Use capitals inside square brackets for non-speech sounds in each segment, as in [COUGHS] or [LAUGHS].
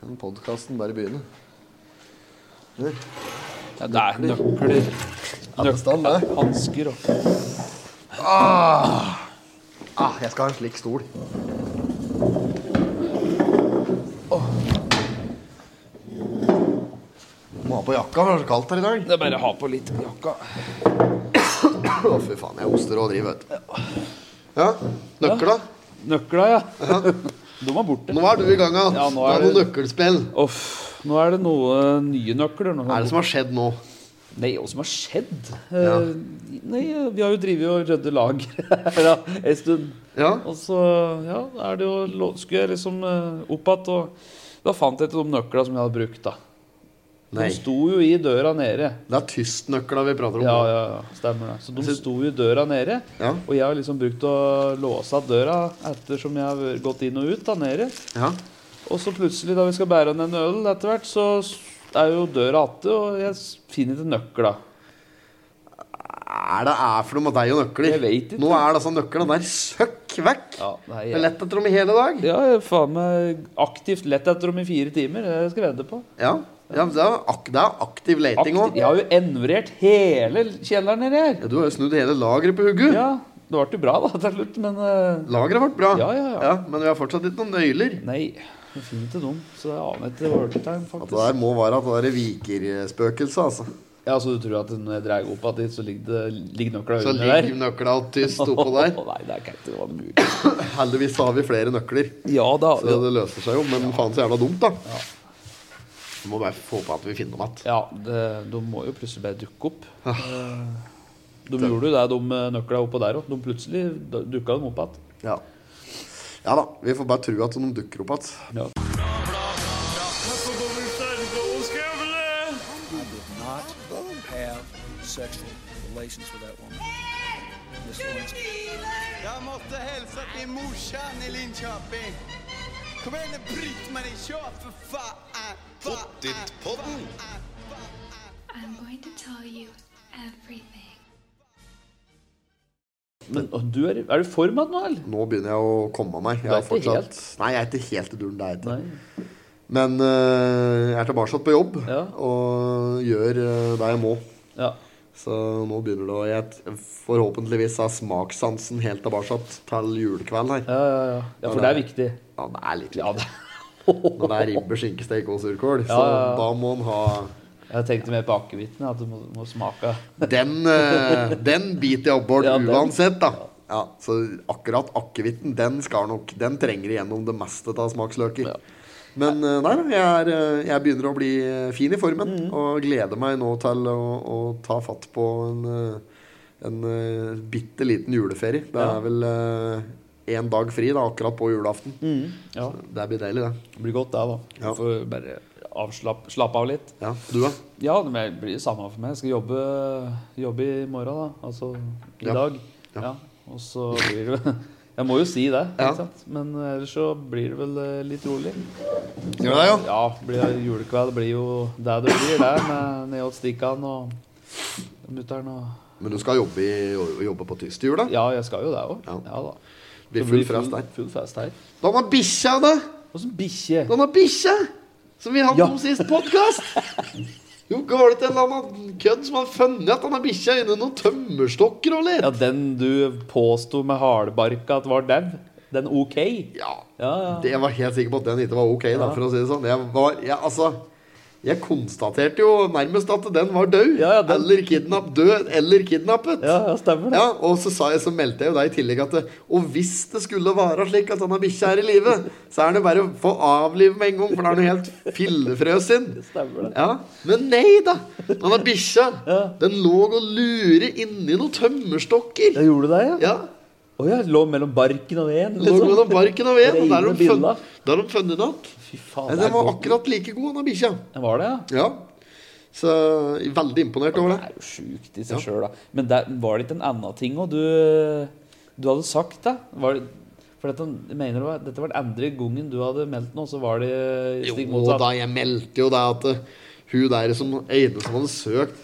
Kan podkasten bare begynne? Ja, det er nøkler. Avstand, det. Hansker og Ah, jeg skal ha en slik stol. Åh. Må ha på jakka, for det er så kaldt her i dag. Det er bare å ha på litt i jakka. Å, fy faen. Jeg hoster og driver, vet du. Ja, nøkla. Nøkla, ja. [LAUGHS] De var borte. Nå er du i gang, ja. Ja, nå det er er noen det- nøkkelspill. Uff. Nå er det noe nye nøkler. Noe Hva er det som har skjedd nå? Nei, hva som har skjedd? Ja. Eh, Nei, vi har jo drevet og ryddet lager [LAUGHS] her da, en stund. Ja, Og så ja, da er det jo, lå- skulle jeg liksom eh, opp igjen, og da fant jeg ikke de nøklene som jeg hadde brukt. da. De Nei. sto jo i døra nede. Det er tystnøkla vi prater om. Ja, ja, ja, stemmer det. Så de sto jo i døra nede. Ja. Og jeg har liksom brukt å låse av døra ettersom jeg har gått inn og ut da nede. Ja. Og så plutselig, da vi skal bære ned en øl etter hvert, så er jo døra atte, og jeg s- finner ikke nøkla. Hva er det er for noe med deg og nøkler? Jeg vet ikke. Nå er det altså nøkla der søkk vekk. Ja, nei, Jeg har jeg, lett etter dem i hele dag. ja, jeg faen meg aktivt lett etter dem i fire timer. Det skal jeg vedde på. Ja, ja det, er ak det er aktiv leting Aktiv, òg. jeg har jo envrert hele kjelleren nedi her. Ja, du har jo snudd hele lageret på hugget. Ja, det ble jo bra da til slutt, men eh, Lageret ble bra, Ja, ja, ja. men vi har fortsatt ikke noen nøkler. nei. Jeg finner ikke dem, så jeg aner ikke overtime, At faktisk. det der må være at det der vikerspøkelset, altså. Ja, så du tror at når jeg dreier opp at dit, så ligger, det, ligger nøkla Så under der? ligger nøkla tyst oppå der. [LAUGHS] Å, nei, det kan ikke være mulig. Heldigvis så har vi flere nøkler, Ja da. så det løser seg jo. Men faen så jævla dumt, da. Vi må bare få på at vi finner dem igjen. Ja, det, de må jo plutselig bare dukke opp. Ah. Eh, De gjorde jo det, de eh, nøkla oppå der òg. De plutselig da- dukka de opp igjen. Ja. ja da. Vi får bare tro at de dukker opp igjen. Ja. not have sexual relations with that woman. Miss Lewinsky. Jeg måtte hilse til morsan i Linköping. Kom igjen, Britt-Marie, kjør, for faen! Pottit-podden! I'm going to tell you everything. Men og du er, i- er du form igjen nå, eller? Nå begynner jeg å komme meg. Jeg Du er har ikke fortsatt... helt- Nei, jeg er ikke helt i duren. Det er jeg ikke. Nei. Men eh, jeg er tilbake på jobb Ja. og gjør eh, det jeg må. Ja. Så nå begynner det å jeg, Forhåpentligvis er smakssansen helt tilbake til julekveld her. Ja, ja, ja. ja, for det er viktig. Ja, det er litt Ja, det. Når det er ribbe, skinkesteik og surkål, så ja, ja. da må en ha Jeg tenkte mer på akevitten, at du må, må smake. Den, eh, den biter jeg oppbord Ja, den. uansett, da. Ja, så akkurat akevitten, den skal nok Den trenger igjennom det meste av smaksløker. Ja. Men eh, nei, da, jeg, er, eh, jeg begynner å bli eh, fin i formen Mm. og gleder meg nå til å, å ta fatt på en, eh, en eh, bitte liten juleferie. Det er vel én dag fri da, akkurat på julaften. Ja, Det blir deilig, det. det blir godt, det, da. Mm. Ja. Du får bare avslapp, slappe av litt. Ja, Du, da? Ja, men det blir det samme for meg. Jeg skal jobbe, jobbe i morgen, da. Altså i Ja. dag. Ja. Ja. Og så blir det [LAUGHS] Jeg må jo si det, Ja. ikke sant? men eh, ellers så blir det vel eh, litt rolig. Gjør det, ja. Ja, blir det julekveld blir jo det det blir, det. Med ned hos Stikkan og mutter'n og Men du skal jobbe, i, jobbe på tyst i jula? Ja, jeg skal jo det òg. Ja. Ja. da. Det blir Så full fest der. Full fest her. Den har bikkja, da! Åssen bikkje? Den har bikkja! Som vi hadde Ja. om sist podkast! Jo, var det ikke en eller annen kødd som har funnet at han har bikkja inni noen tømmerstokker og ler? Ja, den du påsto med hardbarka at var dau, den OK? Ja. Ja, ja. Det jeg var helt sikker på at den ikke var ok, da, Ja. for å si det sånn. Jeg var, jeg, altså Jeg konstaterte jo nærmest at den var død. Ja, ja, den- Eller kidnapp, død eller kidnappet. Ja, ja, stemmer det. Ja, og så, sa jeg, så meldte jeg jo deg i tillegg at det, Og hvis det skulle være slik at denne bikkja er i live, så er det bare å få avlive med en gang, for da er den helt fillefrøsen. Stemmer det. Ja, Men nei da! Denne bikkja, Ja. den lå og lure inni noen tømmerstokker. Jeg gjorde det, ja? Ja, Å ja, lå mellom barken og veden, Lå mellom barken og veden. og Der har Liksom. Reine de funn- billa. der har de funnet den igjen. Fy faen, Nei, det Den er var godt. akkurat like god, denne bikkja. Den var det, ja? Ja. Så jeg er veldig imponert over det. Det er jo sjukt i seg sjøl, da. Men der, var det ikke en annen ting òg du, du hadde sagt, da? Var det, for dette, jeg mener det var, dette var den andre gangen du hadde meldt noe, så var det stikk Jo motsatt. da, jeg meldte jo det at eh, hun der som ene som hadde søkt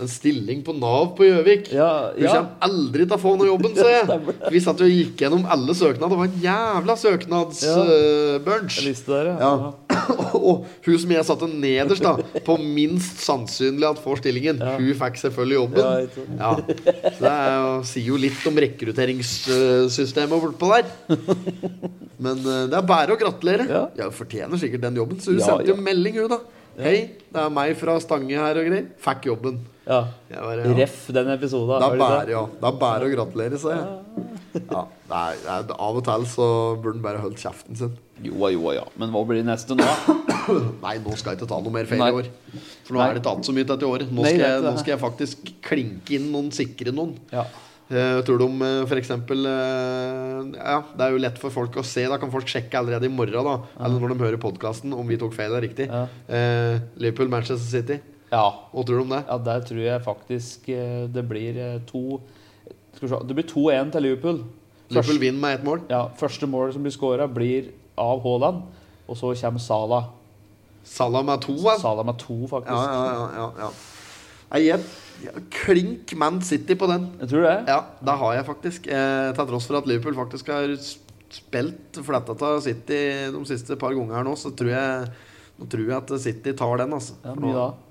En stilling på Nav på Gjøvik. Ja, Hun ja. kommer aldri til å få noe jobben, sa [LAUGHS] jeg. Stemmer. Vi satt jo og gikk gjennom alle søknader. Det var en jævla eh, Ja. søknadsbunch. En liste der, ja. Ja. [LAUGHS] og hun som jeg satte nederst, da, på minst sannsynlig at får stillingen, hun fikk selvfølgelig jobben. Ja, jeg tror det. Ja. Så det er jo, sier jo litt om rekrutteringssystemet bortpå der. Men eh, det er bare å gratulere. Ja. Ja, hun fortjener sikkert den jobben. Så hun Ja, sendte jo ja. melding, hun, da. Hei, det er meg fra Stange her og greier. Fikk jobben. ja. Jeg bare, ja. Ref den episoden. Det var er det bare, det? ja. Det er bare å gratulere, sa jeg. Ja, det er, det er, av og til så burde han bare holdt kjeften sin. Jo, jo, ja. Men hva blir neste [LAUGHS] nå? da? [CLEARS THROAT] Nei, nå skal jeg ikke ta noe mer feil Nei. i år. For nå Nei. er det ikke alt så mye til dette året. Nå Nei, skal, det er jeg, ikke nå det. skal jeg faktisk klinke inn noen, sikre noen. Ja. Eh, tror du om eh, for eksempel eh, Ja, det er jo lett for folk å se. Da kan folk sjekke allerede i morgen, da. Eller når de hører podkasten, om vi tok feil eller riktig. Ja. Eh, Liverpool, Manchester City. ja. Hva tror du om det? Ja, der tror jeg faktisk eh, det blir eh, to Skal vi se. Det blir 2-1 til Liverpool. Liverpool vinner med ett mål. ja, første målet som blir skåra, blir av Haaland. Og så kommer Salah. Salah med to. Ja, Salah med to, faktisk. ja, ja. ja, ja. Nei, jeg, jeg, klink Man City på den. Jeg tror det. Ja, det har jeg faktisk. Eh, til tross for at Liverpool faktisk har sp- spilt fletta av City de siste par ganger her nå, så tror jeg, nå tror jeg at City tar den, altså. Ja, For mye da. nå-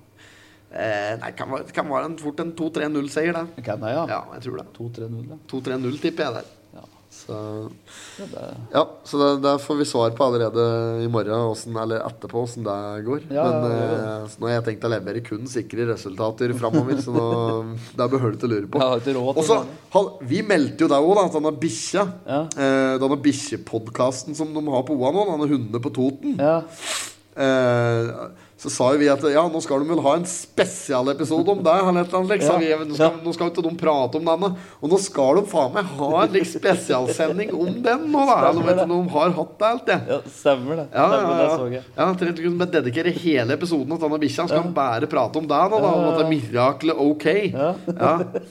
Eh, nei, kan være, kan være en, fort en 2-3-0-seier, det. Kan jeg, ja. Ja, jeg tror det. 2-3-0, ja. 2-3-0 tipper jeg der. Ja. Så, Ja, det- ja, så det, der får vi svar på allerede i morgen, åssen- eller etterpå, åssen det går. Ja, ja, Men ja. eh, så nå har jeg tenkt å levere kun sikre resultater framover, så nå, [LAUGHS] det er behørig til å lure på. Jeg har ikke råd Og til så, det. han- Vi meldte jo deg òg, da, at denne bikkja Ja. eh, Denne bikkjepodkasten som de har på OA nå, denne Hundene på Toten Ja. eh, Så sa jo vi at ja, nå skal de vel ha en spesialepisode om deg, eller et eller annet. slik, sa Ja. vi. Nå skal, Ja. nå skal jo ikke de prate om denne. Og nå skal de faen meg ha en like, spesialsending om den nå, da. Eller, vet du, de har hatt det alt, jeg. ja, stemmer det. Ja, Stemmer, det ja, så ja. jeg. ja tenk at du kunne bare dedikere hele episoden til denne bikkja. Så kan han bare prate om deg nå, da. Om at det er miraklet OK. Ja.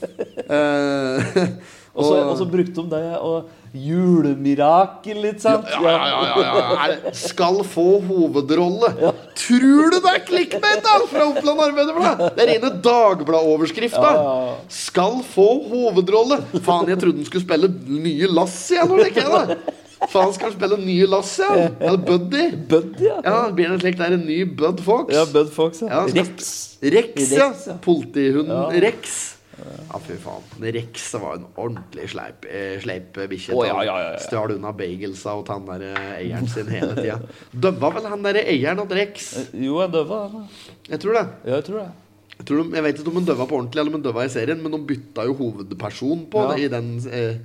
[LAUGHS] Eh, Og så- Og så brukte de det og julemirakel, ikke sant? Ja, ja, ja, [LAUGHS] ja, ja. Er det- Skal få hovedrolle. Tror du det er clickbait da, fra Oppland Arbeiderblad? Det er rene Dagbladet-overskrifta. Ja, ja, ja. Skal få hovedrolle. Faen, jeg trodde han skulle spille nye Lass igjen. Eller ikke, da. Faen, skal han spille nye Lass igjen? Eller Buddy? Bud, ja. Ja, det blir det slik det er en ny Bud Fox? Ja, Bud Fox, ja. Ja, skal- Rex. Rex, ja. Rex, ja. Politihunden Ja. Rex. Ja, fy faen. Men Rex var en ordentlig sleip, eh, sleip eh, bikkje. Å, ja, ja, ja, ja. Stjal unna bagelsa og han der eh, eieren sin hele tida. Dømma vel han derre eieren til Rex? Jo, jeg døva den. Jeg tror det. Ja, jeg tror det. Jeg, tror de, jeg vet ikke om han døva på ordentlig, eller om han døva i serien, men de bytta jo hovedperson på Ja. det, i den eh,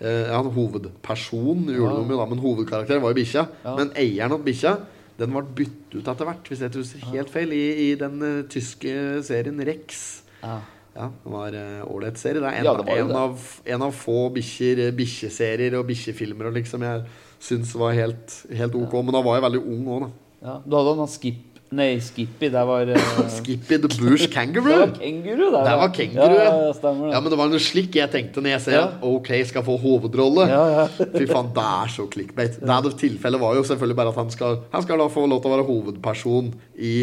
eh, Ja, hovedperson gjorde de jo da, men hovedkarakteren var jo bikkja. Ja. Men eieren av bikkja den ble byttet ut etter hvert, hvis jeg ikke husker helt feil, i, i den eh, tyske serien Rex. Ja. Ja, det var eh, ålreit serie. Det er en, Ja, det var jo en, det. Av, en av få bikkjer, eh, bikkjeserier og bikkjefilmer og liksom jeg syns var helt, helt ok. Men da var jeg veldig ung òg, da. ja. Du hadde han Skip... Nei, Skippy. Det var [LAUGHS] eh, Skippy the Bush Det var Kangaroo. kenguru, det. Det ja. var kenguru, Ja, ja, stemmer det. Ja, men det var noe slik jeg tenkte når jeg ser Ja. at OK, skal få hovedrolle. Ja, ja. Fy faen, det er så clickbait. Det er det tilfellet var jo selvfølgelig bare at han skal, han skal da få lov til å være hovedperson i,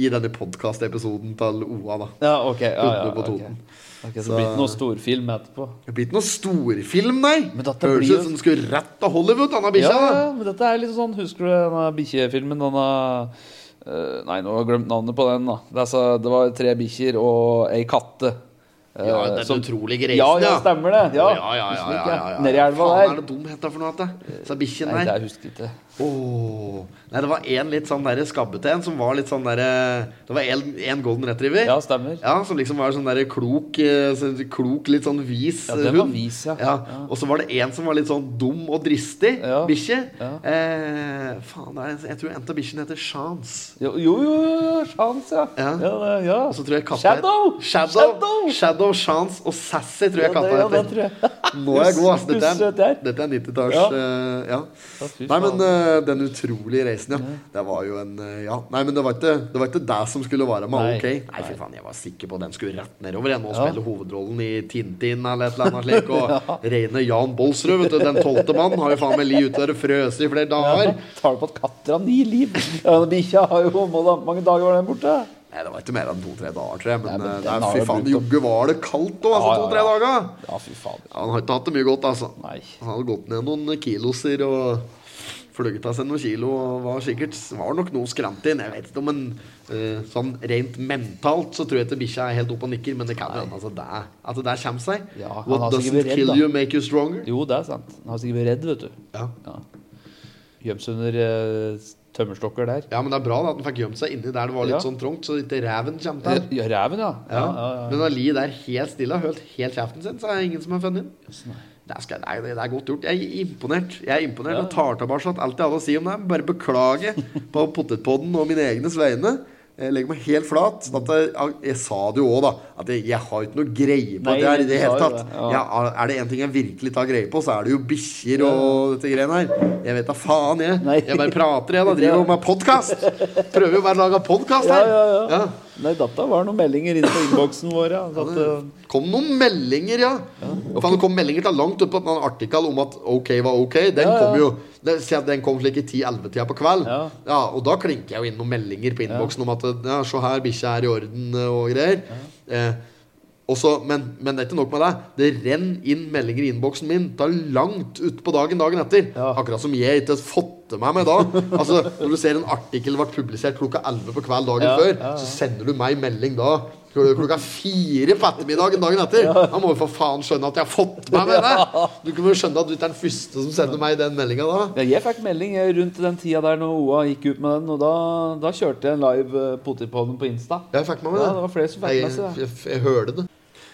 i denne podkastepisoden til OA, da. Ja, ok. Ja, ja, Hundene på ok. Toten. Ok, så det blir ikke noe storfilm etterpå. Det blir ikke noe storfilm, nei. Men dette Høres blir jo- ut som den skulle rett til Hollywood, denne Ja, bikkja. ja, da. men dette er litt sånn Husker du denne bikkjefilmen? Denne eh, Nei, nå har jeg glemt navnet på den. da Det, er så- det var tre bikkjer og ei katte. eh, Ja, den som- utrolige reisen, ja, ja, stemmer det. Ja, Å, ja, ja, ja, Husker du ja, ikke? ja, ja. Nede i elva Faen, er der. Eh, det dum heter for noe, dette? Sa bikkjen Nei, det der. jeg husker ikke. Åh. Nei, det var en litt sånn der skabbete en som var litt sånn derre Det var en, en golden retriever. Ja, stemmer. Ja, Som liksom var sånn der klok, eh, så- klok litt sånn vis Ja, eh, den var hund. vis, ja. Ja. Ja. Og så var det en som var litt sånn dum og dristig Ja. bikkje. Ja. Eh, faen, det er, jeg tror en av bikkjene heter Chance. Jo, jo, jo, jo sjans, ja. Ja. det- ja. Og så tror jeg katta Shadow! Shadow! Shadow! Shadow, Chance og Sassy tror jeg Ja, det- ja, katta det heter. tror jeg. Nå er jeg god, ass. Dette er, Søt jeg er. dette er 90-talls Ja. eh, ja. Ja, fy Nei, men faen. eh, den utrolige reisen, ja. Det var jo en eh, Ja. Nei, men det var ikke det, var ikke det som skulle være med Nei. OK. Nei, fy faen, jeg var sikker på den skulle rett nedover. Jeg nå Ja. spiller hovedrollen i Tintin eller et eller annet slik. [LAUGHS] Og rene Jan Bolsrud, vet du. Den tolvte mann har jo faen meg li ute og frøst i flere Ja, dager. Tar du på at katter har ni liv? Ja, men Bikkja har jo hvor mange dager var den borte? Nei, det var ikke mer enn to-tre dager, tror jeg. Men, Nei, men eh, det den er, har fy jo faen, brukt opp- jogge var det kaldt òg, altså, Ja, ja, to-tre ja. dager. Ja, fy fader. Ja, han har ikke hatt det mye godt, altså. Nei. Han hadde gått ned noen kiloser og fløyet av seg noen kilo og var sikkert var nok noe skrant inn. Jeg vet ikke om en eh, sånn rent mentalt så tror jeg ikke bikkja er helt oppe og nikker, men det kan jo hende altså, det er- at det der kommer seg. Ja, han What har sikkert doesn't vært redd, kill da. you make you stronger. Jo, det er sant. Han har sikkert vært redd, vet du. Ja. Ja. Gjemt seg under eh, tømmerstokker der. ja, men det er bra da, at den fikk gjemt seg inni der det var litt Ja. sånn trangt, så ikke reven kommer Ja, til. Reven, ja. Ja. ja, ja, Men han ligger der helt stille og holdt helt kjeften sin, så er det ingen som har funnet den. Det er, skal, det, er, det er godt gjort. Jeg er imponert. Jeg er imponert og tar tilbake at alt jeg hadde å si om det. Bare [LAUGHS] beklage på potetpodden og mine egnes vegne. Jeg legger meg helt flat. Sånn at jeg, jeg sa det jo òg, da. At jeg, jeg har ikke noe greie på Nei, det her i det du sa hele jo tatt. det, ja. Jeg, er- er det én ting jeg virkelig tar greie på, så er det jo bikkjer og dette greiene her. Jeg vet da faen, jeg. Nei. Jeg bare prater, [LAUGHS] jeg. Da driver jo med podkast. Prøver jo bare å lage podkast her. Ja, ja, ja. Ja. Nei, datta var noen meldinger inn på innboksen vår, ja. Så at, eh, Kom noen meldinger, ja. Faen, det kom meldinger til langt opp på en artikkel om at OK var OK. Den Ja, ja. kom jo den, se at den kom slik i 10-11-tida på kveld. Ja. Ja. Og da klinker jeg jo inn noen meldinger på innboksen om at ja, se her, bikkja er i orden eh, og greier. Eh, og så- men, men det er ikke nok med det. Det renner inn meldinger i innboksen min. Det er langt utpå dagen dagen etter. Ja. Akkurat som jeg ikke har fått det med meg da. Altså, Når du ser en artikkel ble publisert klokka 11 på kveld dagen Ja, før, ja, ja. så sender du meg melding da kl- klokka fire på ettermiddagen dagen etter. Da må du for faen skjønne at jeg har fått med meg det! Du kan jo skjønne at du ikke er den første som sender meg den meldinga da. ja, jeg fikk melding eh, rundt den tida der når OA gikk ut med den, og da, da kjørte jeg en live eh, potetpodden på Insta. Jeg fikk med meg Ja, det. det var flere som fikk jeg, med seg det. jeg, jeg, hørte det.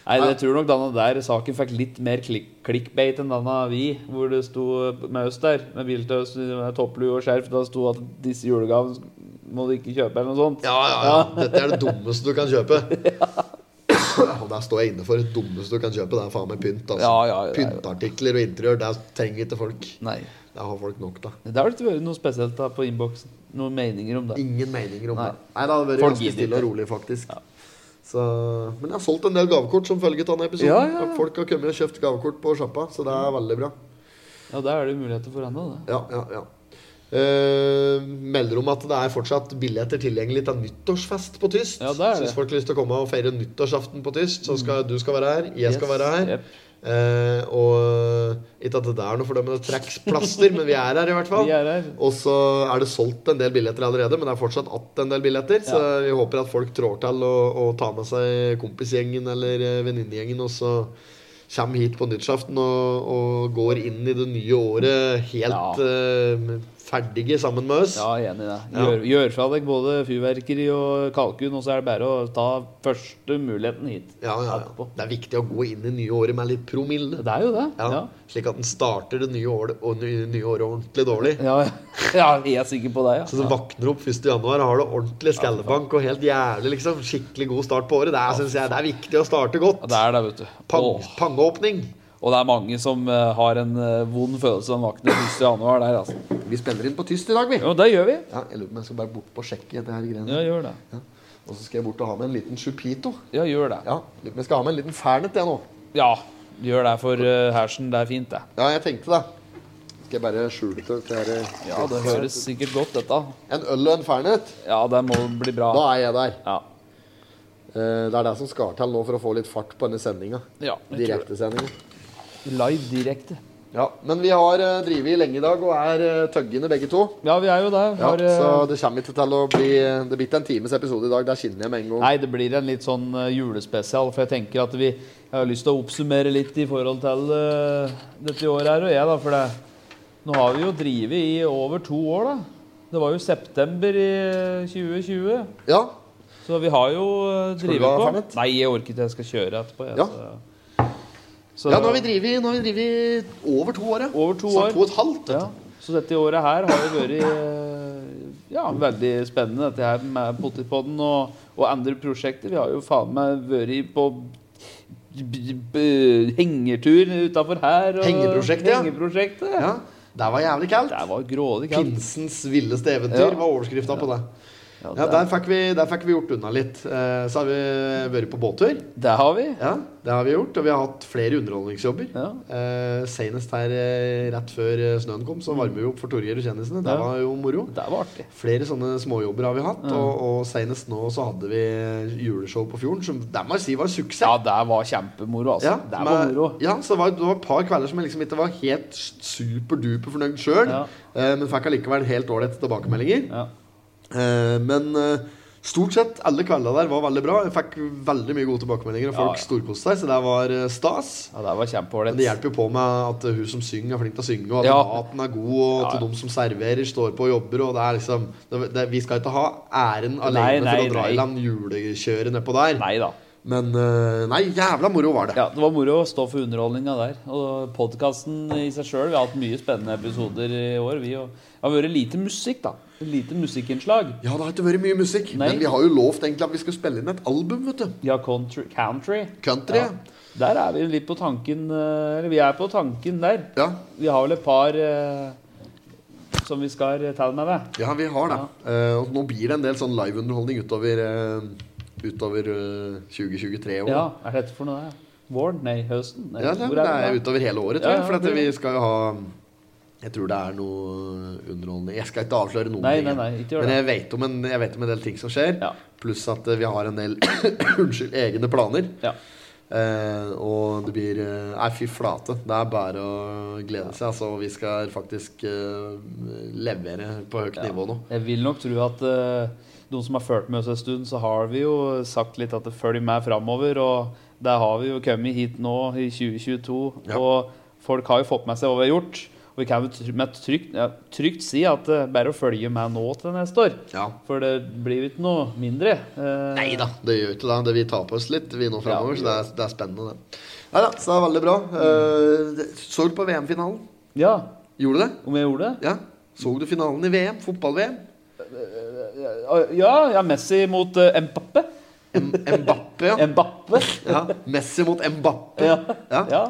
Nei, jeg tror nok denne der saken fikk litt mer klikk, klikkbeit enn denne vi, hvor det sto med oss der, med biltøs, med topplue og skjerf, da sto at disse julegavene må du ikke kjøpe, eller noe sånt. Ja, ja, ja. Dette er det dummeste du kan kjøpe. [LAUGHS] Og der står jeg inne for det dummeste du kan kjøpe. Det er faen meg pynt. Altså. Ja, ja, det er jo- Pyntartikler og interiør, det trenger ikke folk. Nei. Det har folk nok, da. Det har ikke vært noe spesielt da på innboksen. Noen meninger om det. Ingen meninger om Nei. det. Nei, det hadde vært Folk ganske gidder stille og ikke. rolig, faktisk. Så, men jeg har solgt en del gavekort som følge av denne episoden. Ja, ja, ja. Og Folk har kommet og kjøpt gavekort på sjappa, så det er veldig bra. Ja, der er det jo muligheter for ennå, det. Ja, ja, ja. Eh, melder om at det er fortsatt billetter tilgjengelig til nyttårsfest på Tyst. Ja, det Så er det. Mm. Hvis folk har lyst til å komme og feire nyttårsaften på Tyst, så skal du skal være her, jeg skal Yes, være her. jep. Eh, og ikke at det er noe fordømmende trekkplaster, men vi er her i hvert fall. Vi er her. Og så er det solgt en del billetter allerede, men det er fortsatt att en del billetter. Så vi håper at folk trår til og, og tar med seg kompisgjengen eller eh, venninnegjengen, og så kommer hit på nyttårsaften og, og går inn i det nye året helt Ja. eh, ferdige sammen med oss. Ja, jeg er enig i det. Ja. Gjør, gjør fra deg både fyrverkeri og kalkun, og så er det bare å ta første muligheten hit. Ja, ja, ja. Etterpå. Det er viktig å gå inn i det nye året med litt promille. Det er jo det. Ja, Ja. Slik at en starter det nye året, og nye, nye året ordentlig dårlig. Ja, ja. ja jeg er sikker på det, Så du ja. våkner opp 1. januar og har det ordentlig skallebank og helt jævlig, liksom. Skikkelig god start på året. Det er, synes jeg, det er viktig å starte ja. godt. Det er det, vet du. Pang, Åh. pangeåpning. Og det er mange som eh, har en eh, vond følelse når man våkner 1. januar der, altså. Vi spiller inn på tyst i dag, vi. Jo, det gjør vi. Ja, jeg lurer på om jeg skal bare bort på og sjekke dette her Ja, greiene. gjør det. Ja. Og så skal jeg bort og ha med en liten chupito. Ja, gjør det. Ja, lurer på om jeg skal ha med en liten fernet, jeg nå. Ja, gjør det for eh, hersen. Det er fint, det. Ja, jeg tenkte det. Skal jeg bare skjule det her eh, Ja, det høres sikkert godt, dette. En øl og en fernet, Ja, det må bli bra. da er jeg der. Ja. Eh, Det er det som skal til nå for å få litt fart på denne sendinga. ja jeg tror det. Direktesendinga. Live direkte. Ja, men vi har eh, drevet lenge i dag og er eh, tøggende begge to. Ja, vi er jo der. Ja, Har, eh, så det kommer ikke til å bli eh, Det blir ikke en times episode i dag. Der skinner jeg med en gang. Nei, det blir en litt sånn eh, julespesial, for jeg tenker at vi Jeg har lyst til å oppsummere litt i forhold til eh, dette året her og jeg, da, for det Nå har vi jo drevet i over to år, da. Det var jo september i eh, 2020, Ja, så vi har jo eh, du drevet ha på. fernet? Nei, jeg orker ikke, jeg skal kjøre etterpå. Jeg, Ja. så. Så- ja nå har vi drevet nå har vi drevet i over to år, ja. Over to Snart år. to og et halvt. ja. vet du. Så dette året her har jo vært eh, ja, veldig spennende, dette her med Pottipodden og, og andre prosjekter. Vi har jo faen meg vært på b- b- hengertur utafor her. Og, Hengeprosjektet, ja. Hengeprosjektet. Ja. Det var jævlig kaldt. Det var grådig kaldt. Pinsens villeste eventyr Ja. var overskrifta på det. Ja, der fikk vi, der fikk vi gjort unna litt. Eh, Så har vi vært på båttur. Der har vi. Ja, det har vi gjort. Og vi har hatt flere underholdningsjobber. Ja. Eh, senest her eh, rett før eh, snøen kom, så varmer vi opp for Torgeir og kjendisene. Det Ja. var jo moro. Det var artig. Flere sånne småjobber har vi hatt. Og, og senest nå så hadde vi juleshow på fjorden, som det må jeg si var suksess. Ja, det var kjempemoro, altså. det var men- moro. Ja, så det var, det var et par kvelder som jeg liksom ikke var helt superduper fornøyd sjøl, Ja. eh, men fikk allikevel helt ålreite tilbakemeldinger. Ja. Eh, men eh, stort sett alle kveldene der var veldig bra. Jeg fikk veldig mye gode tilbakemeldinger, og Ja, folk ja. storkoste seg, så det var eh, stas. ja, det var Men kjempeålreit. det hjelper jo på med at eh, hun som synger, er flink til å synge, og at Ja. maten er god, og Ja, ja. til dem som serverer, står på og jobber, og det er liksom det, det, Vi skal ikke ha æren Nei, alene nei, for å dra nei. i land julekjøret nedpå der. Nei da. Men eh, nei, jævla moro var det. Ja, Det var moro å stå for underholdninga der. Og podkasten i seg sjøl. Vi har hatt mye spennende episoder i år. Vi og det har vært lite musikk, da. Lite musikkinnslag. Ja, det har ikke vært mye musikk, Nei. men vi har jo lovt egentlig at vi skal spille inn et album, vet du. Ja, country. country. Country. Ja. Der er vi litt på tanken eh, Eller vi er på tanken der. Ja, Vi har vel et par eh, som vi skal ta med deg. ja vi har det. Eh, og nå blir det en del sånn liveunderholdning utover, eh, utover eh, 2023 òg. Ja, er dette for noe? der? Våren? Nei, høsten? Nei, Ja, det, hvor det vi er da? utover hele året, Ja, tror jeg. ja, For at det blir vi skal jo ha Jeg tror det er noe underholdning. Jeg skal ikke avsløre noen Nei, ting. nei, nei, ikke gjør men jeg vet, om en, jeg vet om en del ting som skjer. Ja. Pluss at eh, vi har en del [COUGHS] unnskyld, egne planer. Ja. Eh, og det blir eh, Nei, fy flate. Det er bare å glede seg. Altså, vi skal faktisk eh, levere på høyt nivå nå. Jeg vil nok tro at eh, de som har fulgt med oss en stund, så har vi jo sagt litt at det følger med framover. Og der har vi jo kommet hit nå i 2022, Ja. og folk har jo fått med seg hva vi har gjort. Og vi kan jo tr- med trygt, ja, trygt si at det er bare å følge med nå til neste år. Ja. For det blir jo ikke noe mindre. Eh, Nei da, det gjør ikke det. det. Vi tar på oss litt vi nå framover, Ja. så det er, det er spennende, det. Nei da, så det er veldig bra. Mm. Eh, det- så du på VM-finalen? Ja, Gjorde du det? om jeg gjorde det? Ja. Så du finalen i VM? Fotball-VM? Ja, Eh, ja Messi mot eh, Mbappé. M- Mbappé, ja. Mbappé. ja. Messi mot Mbappé. Ja. Ja. ja.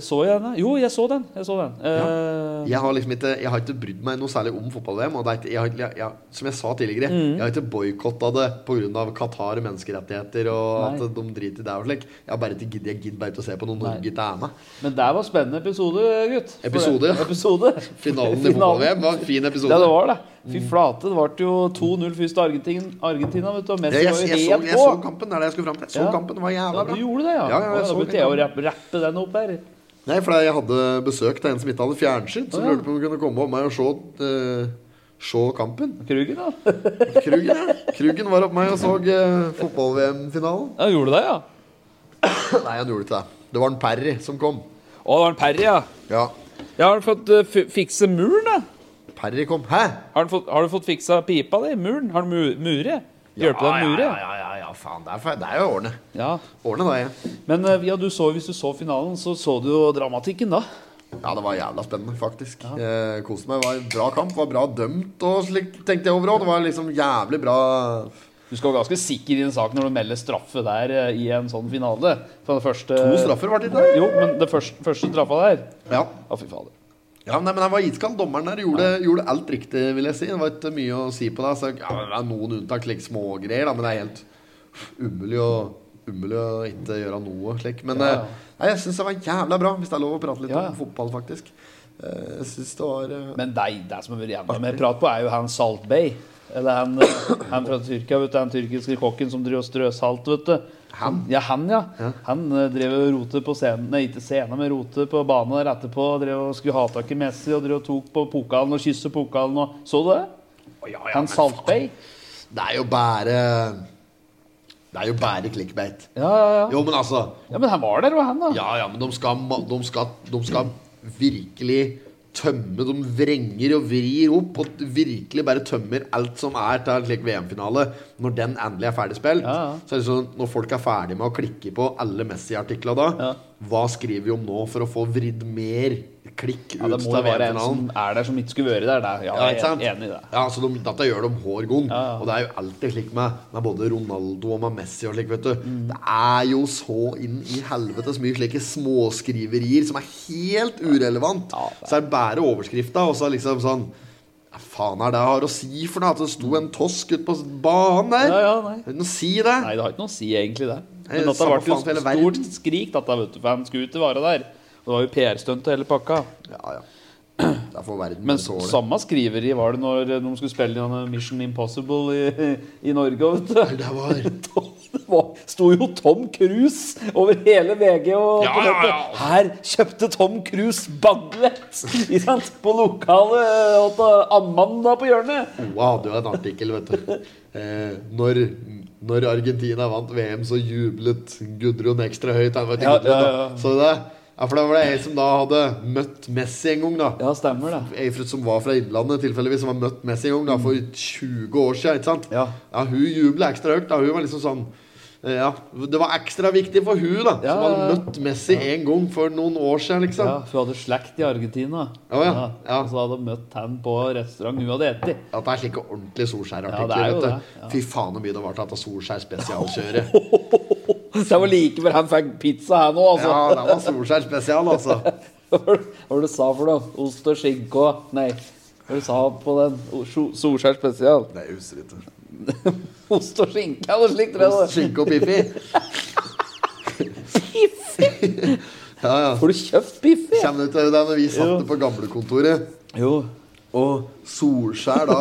Så jeg den? Jo, jeg så den. Jeg så den. Eh, Jeg har liksom ikke, jeg har ikke brydd meg noe særlig om fotball-VM. Og det er ikke, jeg har, jeg, jeg, som jeg sa tidligere, Mm. jeg har ikke boikotta det pga. Qatar og menneskerettigheter og Nei. at de driter i det og slik. Jeg har bare ikke gidder, jeg gidder bare ikke å se på noen Nei. Norge ikke er med. Men der var spennende episode, gutt. For Episode, det- ja. Episode. [LAUGHS] [LAUGHS] Finalen i fotball-VM var en fin Ja, episode. det var det. Fy flate, det ble jo 2-0 først til Argentin, Argentina, vet du. Og jeg, Messi jeg, var jo jeg, så, helt jeg så på. kampen. Det er det jeg skulle fram til. Jeg så Ja. kampen, det var jævla Ja, bra. du gjorde det, ja? Ja, ja, jeg Å, da så begynte jeg å rappe, rappe den opp her. Nei, for jeg hadde besøk av en som ikke hadde fjernsyn, som Å, ja. lurte på om hun kunne komme opp meg og se, eh, se kampen. Krugen, da. Krugen, ja. Krugen var opp meg og så eh, fotball-VM-finalen. [LAUGHS] Ja, gjorde det, ja. Nei, han gjorde ikke det. Det var en Parry som kom. Å, det var en Perry, ja. Ja, Ja, har du fått eh, fi- fikse muren, da? Parry kom. Hæ? Har du fått, har du fått fiksa pipa di? Muren? Har du mu mure? Hjelpe deg å mure? Ja, ja, ja, ja, faen. Det er, fe- det er jo årene. Ja. Årene da, jeg. Men eh, ja, du så, hvis du så finalen, så så du jo dramatikken da. Ja, det var jævla spennende, faktisk. Eh, Koste meg. Det var en bra kamp. Var bra dømt og slik, tenkte jeg overalt. Det var liksom jævlig bra Du skal være ganske sikker i en sak når du melder straffe der eh, i en sånn finale. For det første... To straffer var det ikke? Jo, men det første, første straffa der Ja. Ja, fy fader. ja nei, men han var iskald. Dommeren der gjorde, gjorde alt riktig, vil jeg si. Det var ikke mye å si på det. Så, ja, det er noen unntak, slik smågreier, da, men det er helt umulig å Umulig å ikke gjøre noe slik. Men Ja, ja. eh, Nei, jeg syns det var jævla bra, hvis det er lov å prate litt Ja, ja. om fotball, faktisk. Eh, jeg syns det var eh, Men nei, det som vi vil gjerne med prat på, er jo han Salt Bay. Eller han, eh, han fra Tyrkia, vet du. Han tyrkiske kokken som driver og strør salt, vet du. Han? Ja, han, ja. Han eh, drev og rotet på scenen, nei, ikke scenen, men rotet på banen der etterpå. og Drev og skulle ha tak i Messi og drev og tok på pokalen og kysset pokalen og Så du det? Å, ja, ja, Han men Salt Bay? faen, Det er jo bare Det er jo bare clickbait. Ja, ja, ja. Jo, men altså Ja, Men han var der, og han, da. Ja, ja, men de skal, ma- de skal, de skal virkelig tømme. De vrenger og vrir opp og virkelig bare tømmer alt som er til en slik VM-finale. Når den endelig er ferdig spilt, Ja, ja. så er det sånn når folk er ferdig med å klikke på alle Messi-artikler da, Ja. hva skriver vi om nå for å få vridd mer klikk ut Ja, det må til jo være en som VM-finalen? er der som ikke skulle vært der. der. Ja, Ja, jeg ikke sant? er enig i det. Ja, så de, dette gjør de hver gang. Ja, ja. Og det er jo alltid slik med, med både Ronaldo og med Messi og slik, vet du. Mm. Det er jo så inn i helvetes mye slike småskriverier som er helt urelevant. Ja, det er- Så er det bare overskrifta, og så er det liksom sånn Hva faen er det jeg har å si for noe? At det sto en tosk ute på banen der? Ja, ja, nei. Har du noe å si det? Nei, det har ikke noe å si egentlig det. Nei, Men dette samme ble jo faen for hele stort verden. skrik, dette, vet du, for han skulle ikke være der. Og det var jo PR-stunt og hele pakka. Ja, [CLEARS THROAT] ja. Det er for verden Men å tåle. samme skriveri var det når de skulle spille denne Mission Impossible i, i Norge, vet du. Det var [LAUGHS] Det var- sto jo Tom Cruise over hele VG og Ja, på ja, nettet. ja. Her kjøpte Tom Cruise Baglet ikke sant? på lokalet til eh, Amanda på hjørnet. Oa hadde jo en artikkel, vet [LAUGHS] du. Eh, når, når Argentina vant VM, så jublet Gudrun ekstra høyt. Han vet ikke Ja, Gudrun, ja, da. ja. Så det, ja, for da var det ei som da hadde møtt Messi en gang, da. Ja, stemmer det. Ei fra- som var fra Innlandet, tilfeldigvis, som har møtt Messi en gang da, for 20 år siden. Ikke sant? Mm. Ja. hun jubla ekstra høyt. da, Hun var liksom sånn eh, ja, Det var ekstra viktig for hun da, Ja, som hadde ja, ja. møtt Messi en gang for noen år siden. liksom. Ja, for hun hadde slekt i Argentina. Ja, ja, ja. Og så hadde hun møtt han på restaurant hun hadde spist. At det er slike ordentlige Ja, det Solskjær-artikler. er jo vet du. det, ja. Fy faen hvor mye det var til dette Solskjær-spesialkjøret. [LAUGHS] Så det var like før han fikk pizza, han òg, altså. Ja, det var Solskjær spesial, altså. [LAUGHS] Hva var det- hva var det du sa for noe? Ost og skinke og Nei. Hva var det du sa på den O- Sjo- Solskjær spesial? [LAUGHS] Nei, husker ikke. Ost og skinke eller slikt? tror jeg det Skinke og Piffi. var. Piffi! Ja, ja. Får du kjøpt Piffi? Kjem du til det når vi satt Jo. det på gamlekontoret? Jo. Og Solskjær da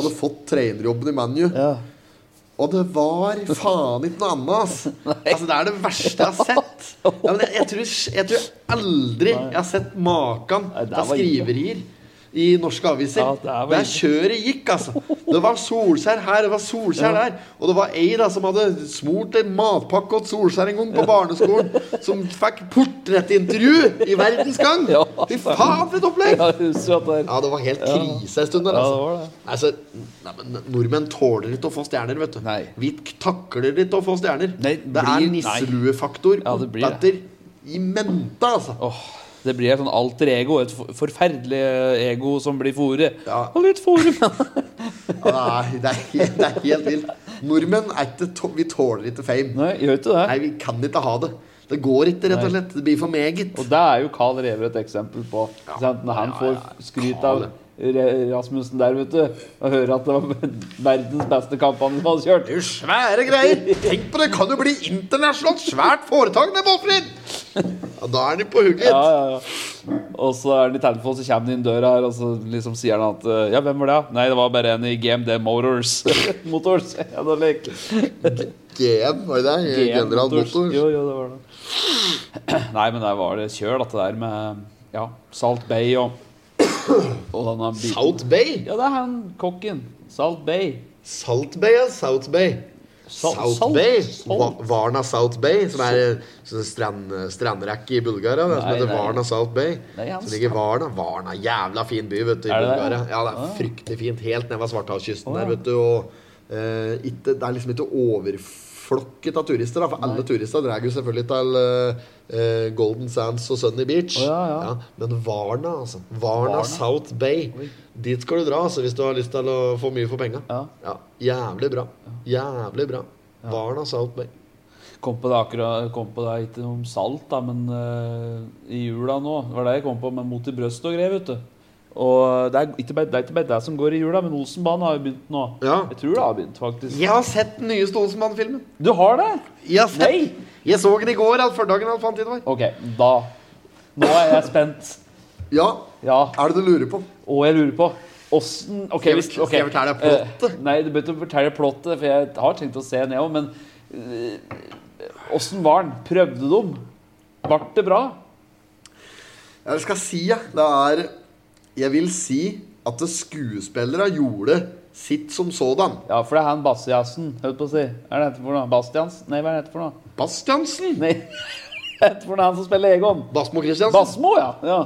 hadde fått trenerjobben i ManU. Ja. [LAUGHS] Og det var faen ikke noe annet, [LAUGHS] ass. Altså, det er det verste jeg har sett. Ja, men jeg, jeg, tror, jeg tror aldri jeg har sett maken Nei, det av var ille. skriverier i norske aviser. Ja, det var Der ille. kjøret gikk, altså. Det var Solskjær her, det var Solskjær der. Og det var ei da som hadde smurt en matpakke åt Solskjær en gang på barneskolen, som fikk portrettintervju i Verdens Gang. Ja. Fy faen, for et opplegg! Ja, jeg husker at det er Ja, det var helt krise en stund der, Ja, altså. det var det. Altså, nei, men Nordmenn tåler ikke å få stjerner, vet du. Nei. Vi takler ikke å få stjerner. Nei, det blir- er nisseluefaktor. Ja, det blir det. Petter, I mente, altså. Åh, det blir et sånn alter ego. Et for- forferdelig ego som blir fòret. Ja. Og litt fòret, [LAUGHS] men Ja, det, er, det, er helt, det er helt vilt. Nordmenn er ikke tå- Vi tåler ikke fame. Nei, gjør ikke det. Nei, vi kan ikke ha det. Det går ikke, rett og slett. Det blir for meget. Og det er jo Carl Rever et eksempel på. Ja. Ikke sant? Når han Ja, ja, får ja. skryt Carl. av Re- Rasmussen der, vet du, og hører at det var [LAUGHS] verdens beste kamp han hadde kjørt Det er jo svære greier! Tenk på det! Kan jo bli internasjonalt svært foretak, det, Wolfrid! Ja, da er de på hugget. ja, ja, ja. Og så er han i telefonen, så kommer han inn døra her, og så liksom sier han at eh, Ja, hvem var det? da?» Nei, det var bare en i GMD Motors. [LAUGHS] Motors. Ja, da leker GM, var det det? General Motors. Jo, jo, det var det. Nei, men der var det [CLEARS THROAT] kjør, dette der med ja, Salt Bay og, og denne biten. South Bay? Ja, det er han kokken. Salt Bay. Salt Bay, ja. South Bay. Sal- South salt- Bay? salt. Va Varna South Bay, som er en sånn strand, strandrekke i Bulgaria. Det, som Nei, heter nei. Varna South Bay. Nei, han Som ligger i Varna. Varna, Jævla fin by, vet du, i Er det det? Bulgaria. Ja, det er fryktelig fint. Helt ned ved Svartehavskysten der, vet du. Og eh, ikke, det er liksom ikke overflokket av turister, da, for alle turister drar jo selvfølgelig til eh, Golden Sands og Sunny Beach. Å, ja, ja. men Varna, altså. Varna, South Bay. Dit skal du dra altså, hvis du har lyst til å få mye for penga. Ja. Jævlig bra. Jævlig bra. Varna South Bay. Kom på det akkurat, kom på det ikke om salt, da, men eh, i jula nå Det var det jeg kom på, men mot i brøstet og greier, vet du. Og eh, det er ikke bare det, er ikke bare det som går i jula, men Olsenbanen har jo begynt nå. Ja. Jeg tror det har begynt, faktisk. Jeg har sett den nye Stolsenmann-filmen. Du har det? Jeg, har sett- Nei! jeg så den i går, altså, før dagen han fant tid var. OK, da Nå er jeg spent. Ja, Ja. er det du lurer på? Og jeg lurer på Åssen ok, Skal jeg- hvis- ok. skal jeg fortelle deg plottet? Eh, nei, du bør ikke fortelle plottet, for jeg har tenkt å se den, jeg òg, men eh, åssen var den? Prøvde de? Ble det bra? Jeg skal si, ja. Det er Jeg vil si at det skuespillere gjorde sitt som sådan. Ja, for det er han Bastiansen, holdt på å si. Er det hette for noe? Bastians? Nei, hva er det hette for noe? Bastiansen! Nei, [LAUGHS] hette for noe han som spiller Egon. Basmo Christiansen. Basmo, ja. Ja.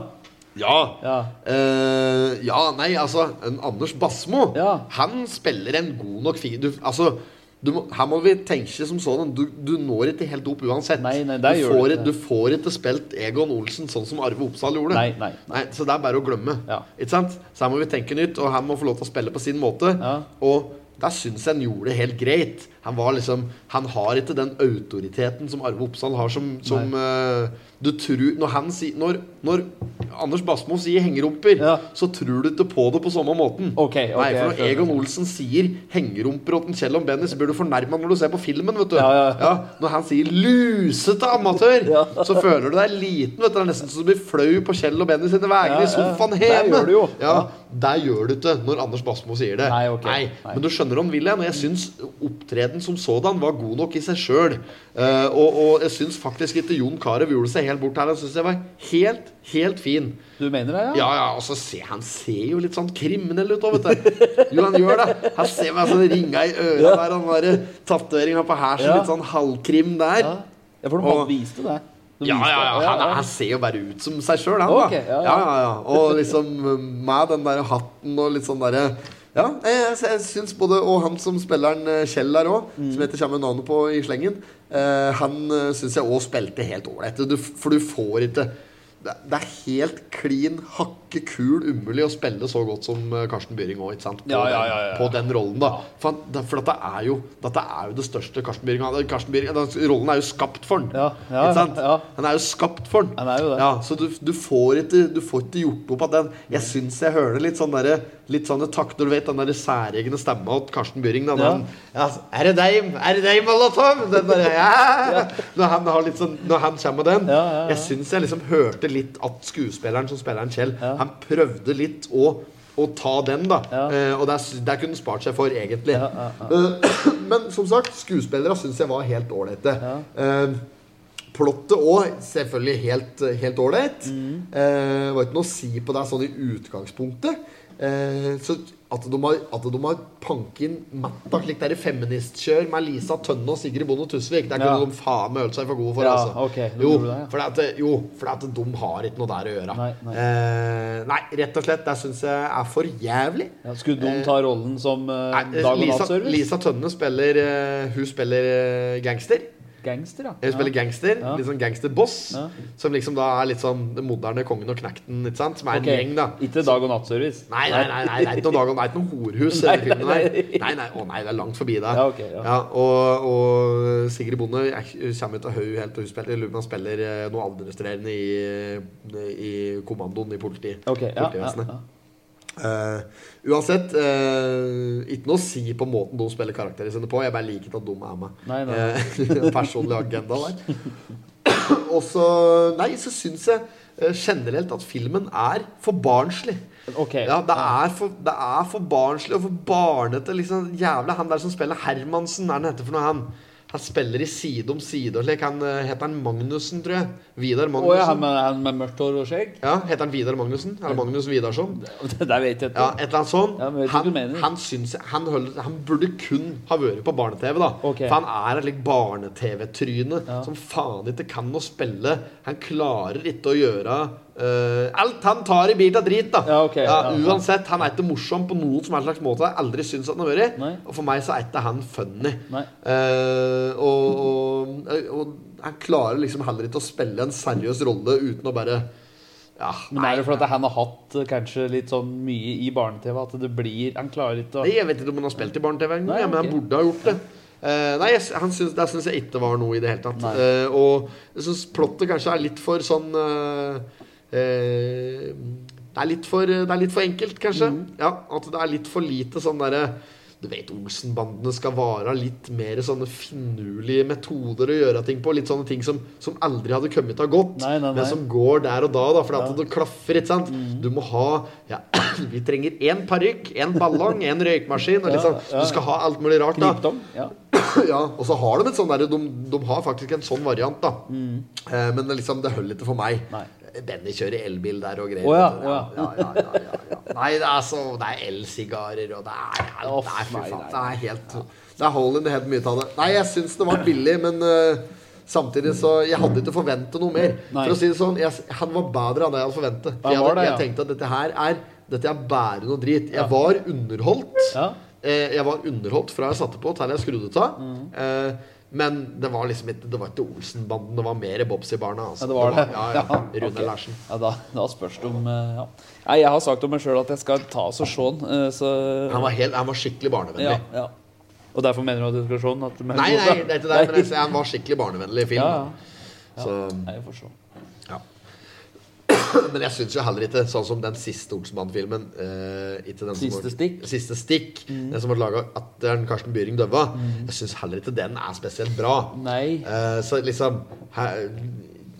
ja. ja. Eh, ja, nei, altså en Anders Basmo Ja. Han spiller en god nok figur. Du, altså, du må, her må vi tenke som sådan. Du, du når ikke helt opp uansett. Nei, nei, der du, gjør får, du ikke- ikke du det. får ikke spilt Egon Olsen sånn som Arve Oppsal gjorde. Nei, nei, så det er bare å glemme. Ja. Ikke sant? Så her må vi tenke nytt, og han må få lov til å spille på sin måte. Ja. Og der syns jeg han gjorde det helt greit. han var liksom Han har ikke den autoriteten som Arve Oppsal har, som, som eh, du tror Når han sier Når, når Anders Basmo sier 'hengerumper', Ja. så tror du ikke på det på samme måten. Ok, ok, Nei, for jeg når skjønner. Egon Olsen sier 'hengerumper' og til Kjell og Benny, så blir du fornærma når du ser på filmen, vet du. Ja, ja, ja. når han sier 'lusete amatør', Ja. så føler du deg liten, vet du. Det er nesten så du blir flau på Kjell og Benny sine vegne Ja, i ja. sofaen Der hjemme. gjør du jo. Ja, der gjør du ikke når Anders Basmo sier det. Nei, ok. Nei. Men du skjønner om Wilhelm, og jeg syns opptreden som sådan var god nok i seg sjøl. og, og jeg syns faktisk ikke Jon Carew gjorde seg helt bort her. Han syns jeg var helt, helt fin. Du mener det, Ja, ja, og så ser han ser jo litt sånn kriminell ut òg, vet du. Jo, han gjør det. Han ser meg sånn ringa i øra der, han derre tatoveringa på her, så Ja. litt sånn halvkrim der. Ja. ja, for de hadde Og- viste det. De Ja, viste ja, ja. det. Han, han ser jo bare ut som seg sjøl, han. da. Ok, ja, ja. ja, ja, ja. Og liksom eh, med den der hatten og litt sånn derre ja, jeg, jeg, jeg syns både Og han som spilleren eh, Kjell der òg, Mm. som heter kommer navnet på i slengen, eh, han eh, syns jeg òg spilte helt ålreit. Du- For du får ikke det, det er helt klin hakke kul umulig å spille så godt som eh, Karsten Byring òg, ikke sant? På, Ja, ja, den- ja, ja. på den rollen, da. For, han- det- for dette, er jo, dette er jo det største Karsten Byring har. Karsten Byring, den rollen er jo skapt for han. Ja, ja, ikke sant? ja. Han er jo skapt for den. Han er jo det. Ja, så du, du, får ikke, du får ikke gjort opp av den. Jeg syns jeg hører litt sånn derre Litt sånn takt, du vet, den derre særegne stemma til Karsten Byring. Den, Ja. den, ja. Er det deg, er det deg, Molotov? Den derre ja. Når han har litt sånn Når han kommer med den. Ja, ja, ja. Jeg syns jeg liksom hørte litt at skuespilleren som spiller en Kjell, Ja. han prøvde litt å å ta den, da. Ja. Eh, og det, er- det kunne han spart seg for, egentlig. Ja, ja, Eh, [CLEARS THROAT] men som sagt, skuespillere syns jeg var helt ålreite. Eh, Plottet òg selvfølgelig helt helt ålreit. Eh, var ikke noe å si på det sånn i utgangspunktet. Eh, så at de har, at de har panket inn matta slik der i feministkjør med Lisa Tønne og Sigrid Bonde Tusvik, det kunne Ja. de faen meg ølt seg for gode for. Ja, altså. ok, de jo, gjorde det, ja. for at, jo, for at de har ikke noe der å gjøre. Nei, nei. Eh, nei rett og slett, det syns jeg er for jævlig. Ja, skulle de ta rollen som eh, Nei, eh, dag- og Lisa, nattservice? Lisa Tønne spiller eh, Hun spiller eh, gangster. Gangster, ja. Hun spiller gangster, Ja. litt sånn gangsterboss. Ja. Som liksom da er litt sånn den moderne kongen og knekten, ikke sant? Som er Ok, en gjeng, da. Ikke dag- og nattservice? Nei, nei, nei, nei, det er ikke noe dag og natt, noe horhus. i Nei, den filmen nei, her. nei. Nei, nei, å nei, det er langt forbi der. Ja, ok, ja. og, og Sigrid Bonde jeg kommer ut av høy helt, og hun spiller, eller hun spiller eh, noe administrerende i, i kommandoen i politiet. Ok, ja, ja, politivesenet. ja. Eh, uansett, eh, ikke noe å si på måten de spiller karakterene sine på. Jeg bare liker ikke at de er med. Nei, nei. Eh, [LAUGHS] personlig agenda der. Og så Nei, så syns jeg eh, generelt at filmen er for barnslig. Ok. Ja, det er, for, det er for barnslig og for barnete. Liksom, jævla Han der som spiller Hermansen, hva er han heter for noe, han? Han spiller i Side om side og slik. Han eh, heter han Magnussen, tror jeg. Vidar Å ja, Magnussen. han med, han med mørkt hår og skjegg? [LAUGHS] Ja, heter han Vidar Magnussen? Eller Magnus Vidarsson? Det der vet jeg ikke. Ja, et eller annet sånt. Ja, men vet du hva han, du mener? han, syns, han, hold- han burde kun ha vært på barne-TV, da. Ok. For han er et like, barne-TV-tryne Ja. som faen ikke kan å spille. Han klarer ikke å gjøre eh, alt han tar i bit av drit, da. Ja, ok. Ja, ja. uansett, han er ikke morsom på noen som helst slags måte. Jeg har aldri syns at han har vært. Nei. Og for meg så er ikke han funny. Nei. Eh, og, og, og han klarer liksom heller ikke å spille en seriøs rolle uten å bare ja, Men er det fordi han har hatt eh, kanskje litt sånn mye i barne-TV at det blir Han klarer ikke å Nei, jeg vet ikke om han har spilt i barne-TV engang, Nei, ja, men han ok. burde ha gjort det. Eh, nei, jeg, s- han syns, der syns jeg ikke var noe i det hele tatt. Nei. Eh, og jeg syns plottet kanskje er litt for sånn eh, eh, det, er litt for, det er litt for enkelt, kanskje. Mm. Ja, At det er litt for lite sånn derre Du vet, Olsenbandene skal vare litt mer sånne finurlige metoder å gjøre ting på. Litt sånne ting som, som aldri hadde kommet av godt, Nei, nei, nei. men som går der og da, da fordi at det klaffer. ikke sant? Mm. Du må ha ja, [CLEARS THROAT] Vi trenger én parykk, én ballong, én røykmaskin. Og liksom, Ja, ja. Du skal ha alt mulig rart. da Kniptom? Ja. [LAUGHS] ja, og så har de et sånn derre de, de har faktisk en sånn variant, da. Eh, men det, liksom, det holder ikke for meg. Mm. Nei. Benny kjører elbil der og greier. Å ja, ja, ja, ja, ja, ja, ja. Nei, det er så Det er elsigarer, og det er, det er, Å, det er fy nei, faen, nei. Det er helt Det er hold in the head mye av det. Nei, jeg syns det var billig, men eh, Samtidig så Jeg hadde ikke forventa noe mer. Nei. For å si det sånn, jeg, han var bedre enn det jeg hadde forventet. For Han jeg, var hadde, det, jeg ja. tenkte at dette her er Dette er bare noe drit. Jeg var underholdt. Ja. Eh, jeg var underholdt fra jeg satte på til jeg skrudde av. Mm. Eh, men det var liksom ikke Det var ikke Olsenbanden, det var mer Bobsy-barna. Altså. [LAUGHS] Ja, det var det. Ja, ja. Rune ok. Larsen. Ja, da, da spørs det om eh, ja. Nei, jeg har sagt om meg sjøl at jeg skal ta oss og se den, eh, så Han var, helt, han var skikkelig barnevennlig. ja, ja. Og derfor mener du at du skal se den? At Nei, nei, det er ikke det. Men jeg, han var skikkelig barnevennlig film. Ja, ja. Så, Nei, jeg forstår. ja. Men jeg syns jo heller ikke, sånn som den siste Olsenmann-filmen eh, ikke den som Siste var- stikk? Mm. Siste stikk Den som ble laga etter den Karsten Byring døva. Jeg syns heller ikke den er spesielt bra. Mm. Nei. Eh, så liksom her,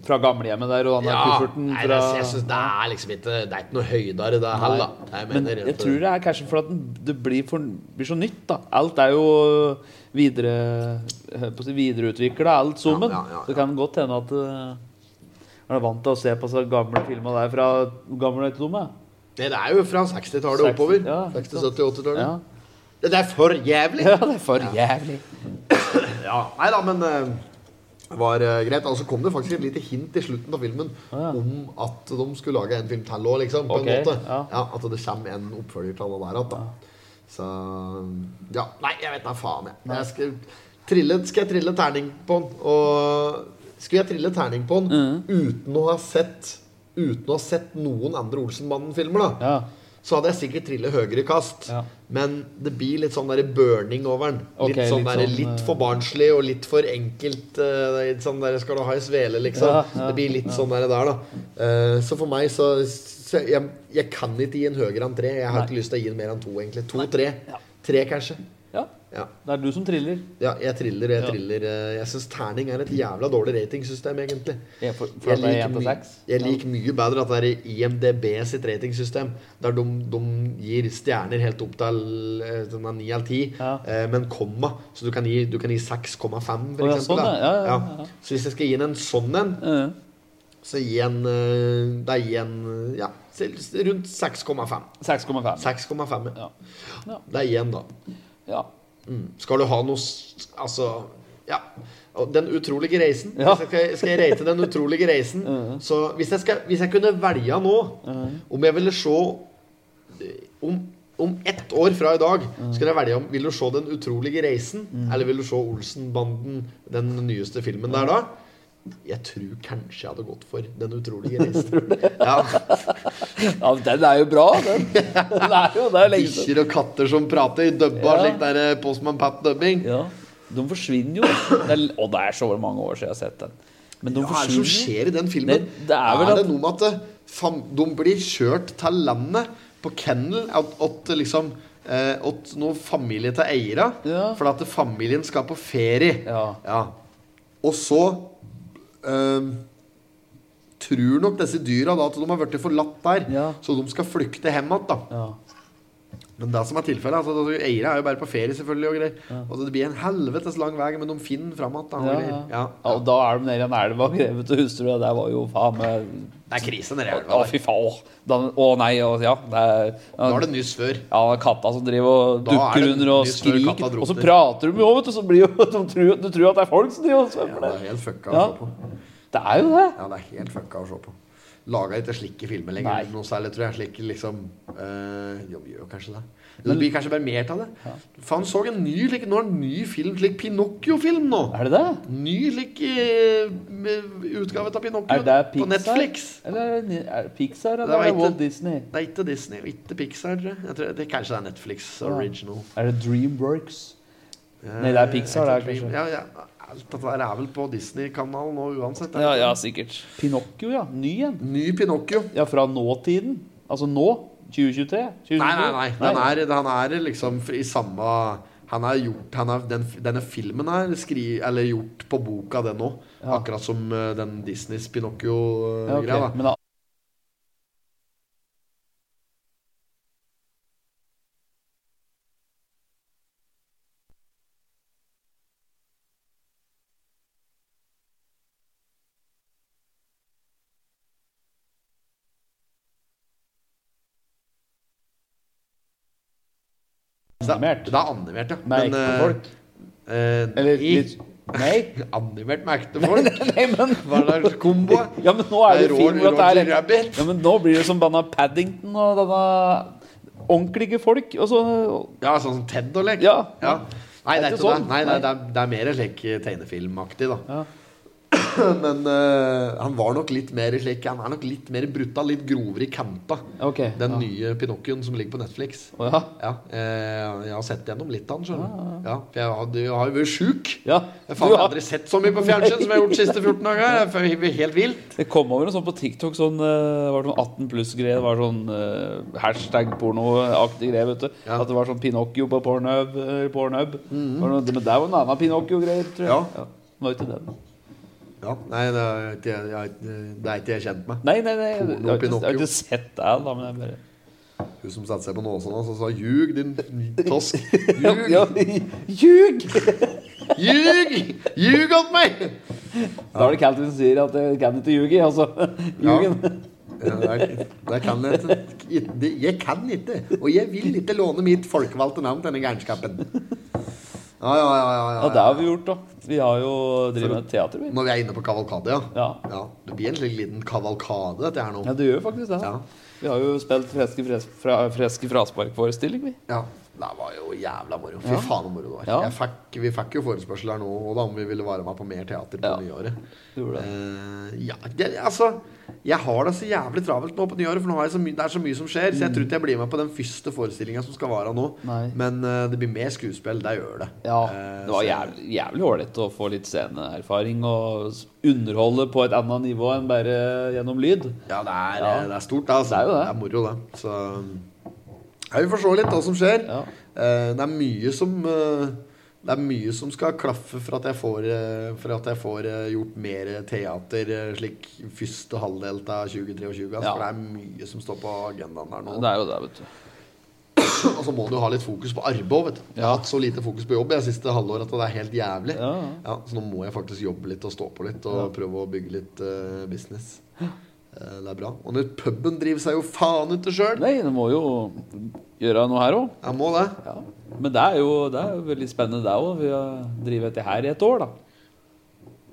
Fra gamlehjemmet der og han der Ja, kufferten nei, fra det, jeg synes det er liksom ikke Det er ikke noe høydere, det Nei. heller. da. Jeg Men mener jeg at- tror det er kanskje fordi at den- det blir, for, blir så nytt, da. Alt er jo videre videreutvikla, alt summen. ja, ja, ja. Det kan godt hende at uh, er du vant til å se på så gamle filmer der fra gamle tomme. Nei, det er jo fra 60-tallet 60, oppover. ja, 60, sant. 70, 80-tallet. Ja. [LAUGHS] Det er for jævlig! ja, det er for jævlig. Ja, Nei da, men eh, det var eh, greit. Og så kom det faktisk et lite hint i slutten av filmen om at de skulle lage en film til òg, liksom. På Ok, en måte. ja. At det kommer en oppfølger til det der igjen, da. Så Ja. Nei, jeg vet da faen, jeg. jeg skal, trille, skal jeg trille terning på den? Og skulle jeg trille terning på den Mm. uten å ha sett Uten å ha sett noen andre Olsenmannen-filmer, da? Ja. Så hadde jeg sikkert trillet høyere kast. Ja. Men det blir litt sånn der burning over den. Ok, litt sånn litt der, sånn, litt eh, for barnslig og litt for enkelt. eh, litt sånn der, Skal du ha ei svele, liksom? Ja, ja, det blir litt sånn der, der da. Eh, så for meg så, så jeg, jeg kan ikke gi en høyere enn tre. Jeg har ikke lyst til å gi den mer enn to, egentlig. To-tre. Tre, kanskje. ja. Ja. Det er du som triller. ja, jeg triller, jeg triller. eh, Jeg syns terning er et jævla dårlig ratingsystem, egentlig. Jeg, for, for Jeg at det er liker, en til my seks. jeg liker mye bedre at det er IMDb sitt ratingsystem, der de, de gir stjerner helt opp til eh, sånn er 9 eller 10, Ja. eh, men komma. Så du kan gi, du kan gi 6,5, for Å, ja, eksempel. sånn, da. ja, ja, ja, ja. Så hvis jeg skal gi den en sånn en, Ja. Mm. så gi en eh, Da gi en eh, ja, se- rundt 6,5. 6,5. 6,5, ja. Ja. Ja. Det er igjen, da. Ja. Mm. Skal du ha noe s- Altså, ja. Og Den utrolige reisen. Ja. Hvis jeg skal, skal jeg rate Den utrolige [LAUGHS] reisen, så hvis jeg, skal, hvis jeg kunne velge nå om jeg ville se om, om ett år fra i dag, så kan jeg velge om Vil du se Den utrolige reisen, Mm. eller vil du se Olsenbanden, den nyeste filmen der da? Jeg tror kanskje jeg hadde gått for [LAUGHS] Den utrolige reisen. Ja. ja, den er jo bra, [LAUGHS] den. den er jo, det er lenge siden. Bikkjer og katter som prater i dubba, Ja. slik der eh, Postman Pat-dubbing. Ja, de forsvinner jo. Det er, og det er så mange år siden jeg har sett den. Men de Hva er det som forsvinner. skjer i den filmen? Nei, det er vel at- det noe med at eh, fam, de blir kjørt til landet på kennel at, at liksom eh, at noen familie til eiere Ja. for at familien skal på ferie. Ja. Og så eh, tror nok disse dyra da at de har blitt forlatt der, Ja. så de skal flykte hjem igjen. da. Ja. Men det som er tilfellet, altså, altså, eiere er jo bare på ferie, selvfølgelig. Og greier. Altså, det blir en helvetes lang vei, men de finner fram igjen. Ja, Ja, ja. ja. Ja, og da er de nede i en elv og grevet og hustru, og det var jo faen meg Det er krise nedi Å, fy faen. Å, da- å nei, å, ja. Det er, Da er det nyss før. ja, katta som driver og Da er dukker det under og nyss før katta skriker. drukner. Og så prater de jo, vet du, så blir jo [LAUGHS] de tror, Du tror at det er folk som driver og svømmer Ja, der. det er helt fucka å Ja. se på. Det er jo det. Ja, det er helt fucka å se på. Laga ikke slike filmer lenger. Nei. Noe særlig, tror jeg. Slik liksom eh, Jo, vi gjør kanskje det. Det blir kanskje bare mer av det. Faen, så en ny like, Nå er det en ny film, slik Pinocchio-film nå. Er det det? Ny slik eh, med utgave av Pinocchio Er det Pixar? på Netflix. Eller er det, er det Pixar Det var eller er det ikke- Walt Disney? Det er ikke Disney og ikke Pixar. tror Jeg. Jeg tror, det, kanskje det er Netflix original. Er det Dreamworks? Nei, det er Pixar, det er Jeg tror- kanskje. Eh, Ja, ja. Alt dette der er vel på Disney-kanalen nå uansett. Ja, ja, sikkert. Pinocchio, ja. Ny en. Ny Pinocchio. Ja, fra nåtiden. Altså nå. 2023. Nei, 2022. nei, nei. Den er, den er liksom i samme han er gjort, han er, den, Denne filmen er skri, eller gjort på boka, den òg. Ja. Akkurat som eh, den Disneys Ja, ok. Pinocchio-greia. da. Men da, Så det, animert. det er animert, ja. Med ekte eh, folk. eh, Eller i- litt [LAUGHS] Nei? Animert med ekte [LAUGHS] folk? nei, men Hva er det kombo? Ja, men nå er det Det er film Roger- at det er Roger Rabbit. Ja, men nå blir det som banna Paddington og denne ordentlige folk og så Ja, sånn som Ted og lek? Ja. Nei, det er ikke Det er det. sånn. Nei, nei, det, er, det er mer slik tegnefilmaktig, da. [CLEARS THROAT] Ja. Men eh, han var nok litt mer slik Han er nok litt mer brutal, litt grovere i kanta. Ok. Den ja. nye Pinocchioen som ligger på Netflix. Å, ja. Ja, eh, jeg har sett gjennom litt av den, skjønner du. Ja, for jeg har, jeg har jo vært sjuk. ja. Jeg har Ah. Du faen har- aldri sett så mye på fjernsyn som jeg har gjort de siste 14 dager. Jeg er f- helt vilt. Det kom over noe sånt på TikTok, sånn, eh, var det sånn 18 pluss-greie. Det var sånn eh, hashtag-porno-aktig greie. vet du Ja. Mm. At det var sånn Pinocchio på Pornhub. eh, Pornhub. Var det noe, men det var en annen Pinocchio-greier, tror jeg. Ja. Det var ikke den. Ja, nei, det er ikke jeg, jeg, det er ikke jeg kjent med. Nei, nei, nei. Jeg, Porno har ikke, jeg har Pinocchio. ikke sett deg, da, men jeg bare Hun som satte seg på nåsen hans og sa 'ljug, din tosk'. Ljug! Ja, [LAUGHS] Ljug! Ljug! Ljug åt meg! Da er det Calvin som sier at jeg kan ikke ljuge. Altså. [LAUGHS] Ja. Ljugen. Ja, der- der kan jeg, ikke- det- jeg kan ikke, og jeg vil ikke låne mitt folkevalgte navn til denne gærenskapen. Ja, ja, ja. ja, Ja, ja, det har vi gjort, da. Vi har jo drevet med teater, vi. Når vi er inne på kavalkade, ja. Ja. Det blir en slik liten kavalkade, dette her nå. Ja, det gjør faktisk det. Ja. Vi har jo spilt Freske, fres, fra, freske frasparkforestilling, vi. Ja, det var jo jævla moro. Fy Ja. faen hvor moro det var. Ja. Jeg fikk, vi fikk jo forespørsel her nå og da om vi ville være med på mer teater på Ja. nyåret. Du gjorde det. Eh, ja, det, altså Jeg har det så jævlig travelt nå på nyåret, for nå har jeg så my det er så mye som skjer. Så jeg tror ikke jeg blir med på den første forestillinga som skal være nå. Mm. Nei. Men eh, det blir mer skuespill. Det gjør det. Ja, Eh, det var så- jævlig jævlig ålreit å få litt sceneerfaring og s- underholde på et annet nivå enn bare gjennom lyd. Ja, det er, Ja. det er stort, da. Altså. Det er jo det det. er moro, det. Så ja, vi får se litt hva som skjer. Ja. Eh, det er mye som eh, Det er mye som skal klaffe for at jeg får, eh, for at jeg får eh, gjort mer teater eh, slik første halvdel av 2023. Altså, Ja. For det er mye som står på agendaen der nå. Det er jo det, vet du. Og så må du ha litt fokus på arbeid òg, vet du. Jeg Ja. har hatt så lite fokus på jobb jeg siste halvår at det er helt jævlig. Ja, ja. så nå må jeg faktisk jobbe litt og stå på litt og prøve å bygge litt eh, business. Eh, det er bra. Og nå puben driver seg jo faen ut sjøl. Nei, det må jo gjøre noe her òg. Jeg må det. Ja. Men det er, jo, det er jo veldig spennende, det òg. Vi har drevet dette her i et år, da.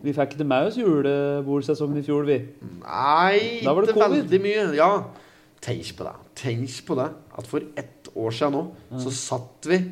Vi fikk det med oss julebordsesongen i fjor, vi. Nei, Da var det ikke covid. veldig mye. Ja. Tenk på det. Tenk på det. At for ett år siden nå, Mm. så satt vi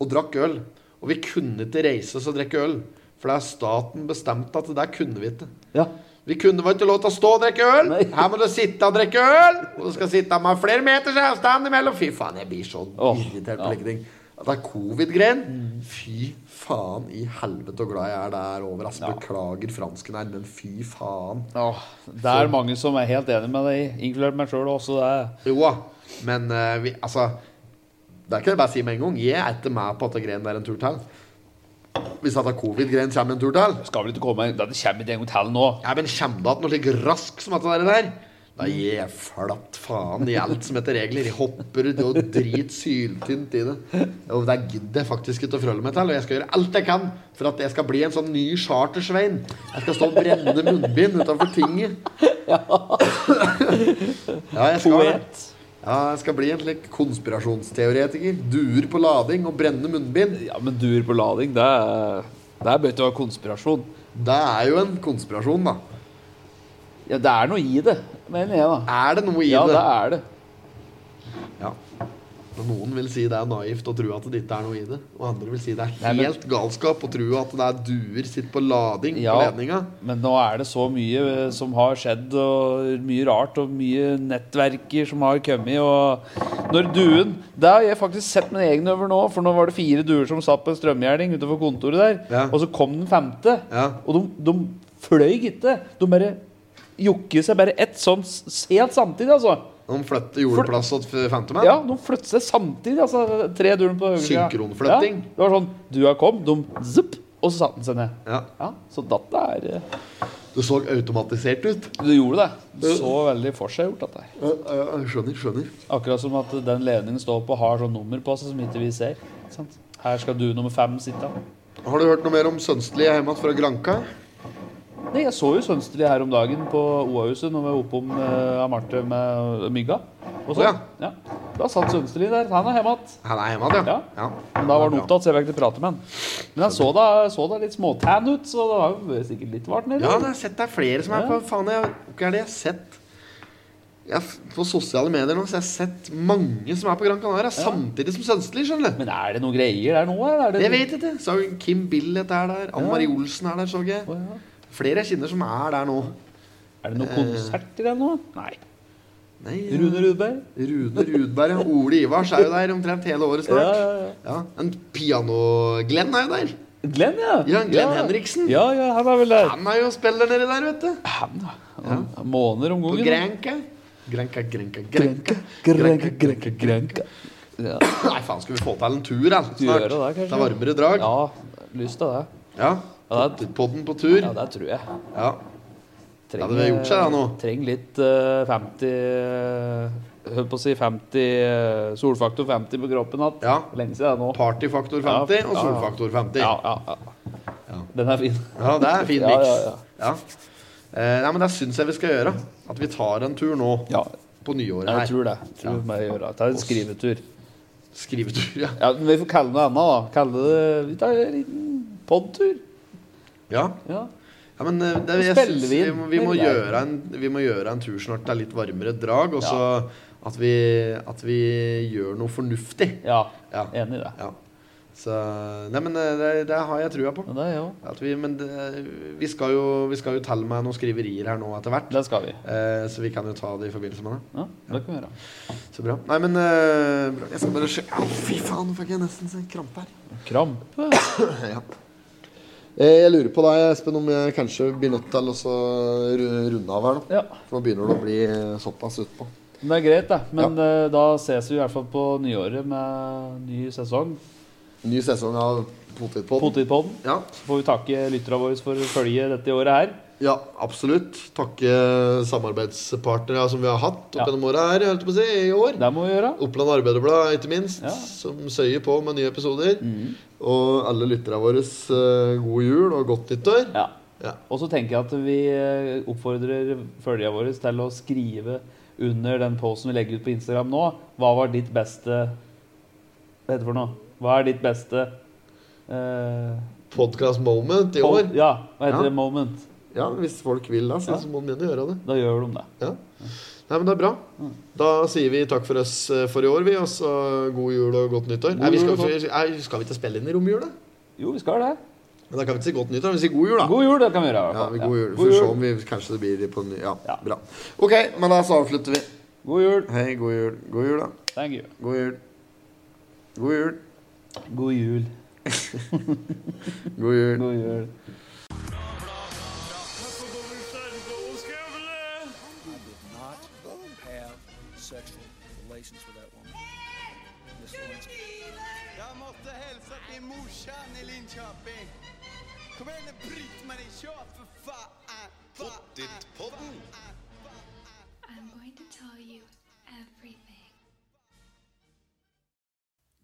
og drakk øl. Og vi kunne ikke reise oss og drikke øl. For det er staten bestemte at det der kunne vi ikke. Ja. Vi kunne vel ikke lov til å stå og drikke øl? Nei. Her må du sitte og drikke øl! Og du skal sitte med flere meters avstand imellom. Fy faen, jeg blir så Åh, irritert ja. Mm. på like ting. At det er covid-greien. Fy faen i helvete og glad jeg er der over. Altså, Beklager fransken her, men fy faen. Åh, det er mange som er helt enig med deg, inkludert meg sjøl også. Det er Jo da, men eh, vi, altså Det kan jeg bare si med en gang. Jeg er ikke med på at det greien der en tur til. Hvis at det er covid-greien kommer en tur til. skal vel ikke komme Det kommer ikke en gang til nå. Ja, men kommer det at noe slik rask som dette der? Da gir jeg flatt faen i alt som heter regler. Jeg hopper ut og driter syltynt i det. Og det gidder jeg faktisk ikke å forholde meg til. Og jeg skal gjøre alt jeg kan for at jeg skal bli en sånn ny chartersvein. Jeg skal stå og brenne munnbind utenfor tinget. Ja, jeg skal det. Poet. Ja, jeg skal bli en slik konspirasjonsteoretiker. Duer på lading og brenne munnbind. Ja, men dur på lading, det er Det er bør ikke være konspirasjon. Det er jo en konspirasjon, da. Ja, det er noe i det, mener jeg, da. Er det noe i Ja, det? det er det. Ja. Men noen vil si det er naivt å tro at det ikke er noe i det. Og andre vil si det er Nei, men- helt galskap å tro at det er duer sitt på lading Ja. på ledninga. Men nå er det så mye eh, som har skjedd, og mye rart, og mye nettverker som har kommet, og når duen Det har jeg faktisk sett med egne over nå, for nå var det fire duer som satt på en strømgjerding utenfor kontoret der, Ja. og så kom den femte, Ja. og de, de fløy ikke. De bare jokket seg bare ett sånn s- helt samtidig, altså. De flytter jordeplass og fantomen. Ja, de flyttet seg samtidig, altså. Tre duren på høyre sida. Synkronflytting. Ja, det var sånn Dua kom, de zipp, og så satte den seg ned. Ja. Ja, så datta er eh, Det så automatisert ut. du gjorde det. Du så veldig for seg gjort dette. her. Ja, ja, ja, Skjønner, skjønner. Akkurat som at den ledningen står på har sånn nummer på seg som ikke vi ser. ikke Sant? Her skal du nummer fem sitte. Har du hørt noe mer om Sønstli hjemme fra Granka? Nei, jeg så jo Sønstli her om dagen på OA-huset når vi var oppom uh, Marte med mygga. Og så, Å, ja. ja. Da satt Sønstli der. Han er hjemme igjen. Han er hjemme igjen, ja. Ja. Men da var han Bra. opptatt, så jeg fikk ikke prate med han. Men han så da, så da litt småtan ut, så det var jo vært sikkert litt vart nede. Ja, jeg har sett det er flere som er på Ja. Faen, jeg, hva er det jeg har sett? Jeg, er på sosiale medier nå så jeg har sett mange som er på Gran Canaria, samtidig som Sønstli, skjønner du. Men er det noen greier der nå? eller Er det Jeg vet ikke. Så Kim Billett er der. Ann Marie Olsen er der, så jeg. Å, ja. Flere jeg kjenner som er der nå. Er det noen konsert i den nå? Nei. Nei, ja. Rune Rudberg? Rune Rudberg, ja. Ole Ivars er jo der omtrent hele året Ja, snart. ja, Ja, En piano-Glenn er jo der. ja. Glenn, ja. Ja, Glenn Henriksen. Ja, ja, han er vel der. Han er jo spiller nedi der, vet du. Han, da. Han- Måneder om På gangen. Grenka. Grenka, Grenka, Grenka. Grenka, grenka, grenka. Ja, Nei, faen, skal vi få til en tur da, snart? Gjøre det, kanskje. Det er varmere drag. ja lyst til det. Ja. Ja, det- Podden på tur. Ja, det tror jeg. Ja. Ja, det har gjort seg, da, nå. Trenger litt eh, 50 eh, Hørt på å si 50 eh, Solfaktor 50 på kroppen igjen. Ja. Lenge siden nå. Partyfaktor Ja, 50 og ja. solfaktor 50. Ja, Ja, ja, ja. Den er fin. det er en fin Ja, miks. ja, Ja. Eh, nei, men det syns jeg vi skal gjøre. At vi tar en tur nå Ja, på nyåret jeg her. tror det. Tror Ja. meg gjør det. Ta en skrivetur. Skrivetur, ja. Ja, men Vi får kalle det noe annet, da. Kalle det Vi tar en liten podtur. ja. Ja. Ja, men eh, det, jeg Spiller synes vi vi, inn? må- vi, må Eller? gjøre en, vi må gjøre en tur snart. Det er litt varmere drag. Og så at, vi, at vi gjør noe fornuftig. ja. Ja. Enig i det. ja. Så Nei, men eh, det, det har jeg trua på. Ja, det er jeg òg. At vi, men det, vi skal jo, vi skal jo telle med noen skriverier her nå etter hvert. Det skal vi. Eh, så vi kan jo ta det i forbindelse med det. Ja, det kan vi gjøre. Så bra. Nei, men eh, bra. Jeg skal bare sjekke Au, Fy faen, nå fikk jeg nesten så krampe her. Krampe? Eh, Jeg lurer på deg, Espen, om jeg kanskje blir nødt til å så ru- runde av her nå. Ja. For nå begynner det å bli eh, såpass utpå. Men Det er greit, da. Men eh, da ses vi i hvert fall på nyåret med ny sesong. Ny sesong av Potetpodden. Potetpodden. Ja. Så får vi takke lytterne våre for følget dette året her. ja, absolutt. Takke samarbeidspartnere som vi har hatt opp Ja. gjennom året her, jeg holdt på å si, i år. Det må vi gjøre. Oppland Arbeiderblad, ikke minst, Ja. som søyer på med nye episoder. Mm. Og alle lytterne våre, eh, god jul og godt nyttår. Ja. Ja. Og så tenker jeg at vi eh, oppfordrer følgerne våre til å skrive under den posten vi legger ut på Instagram nå. Hva var ditt beste Hva heter det for noe? Hva er ditt beste eh, Podcast moment i pol- år. Ja, hva Ja. heter det? Moment. Ja, hvis folk vil det, så, Ja. så må de gjerne gjøre det. Da gjør de det. Ja. Nei, men det er bra. Mm. Da sier vi takk for oss eh, for i år, vi. Og så god jul og godt nyttår. God Nei, vi jul skal, og godt- ikke- nei, skal vi ikke spille inn i romjula? Jo, vi skal det. Men da kan vi ikke si godt nyttår, men vi sier god jul, da. God jul, det kan vi gjøre. i hvert Ja, fall. vi- Ja. god jul. Får God vi se jul. om vi kanskje det blir på ny. Ja, Ja. bra. Ok, men da så avslutter vi. God jul. Hei, god jul. God jul, da. Thank you. God jul. God jul. God jul. God jul. God jul. I did not have sexual relations with that woman. Miss Lewinsky. Jag måste hälsa till morsan i Linköping. Kom igen nu Britt-Marie, kör för fan! Pottitpodden! I'm going to tell you everything.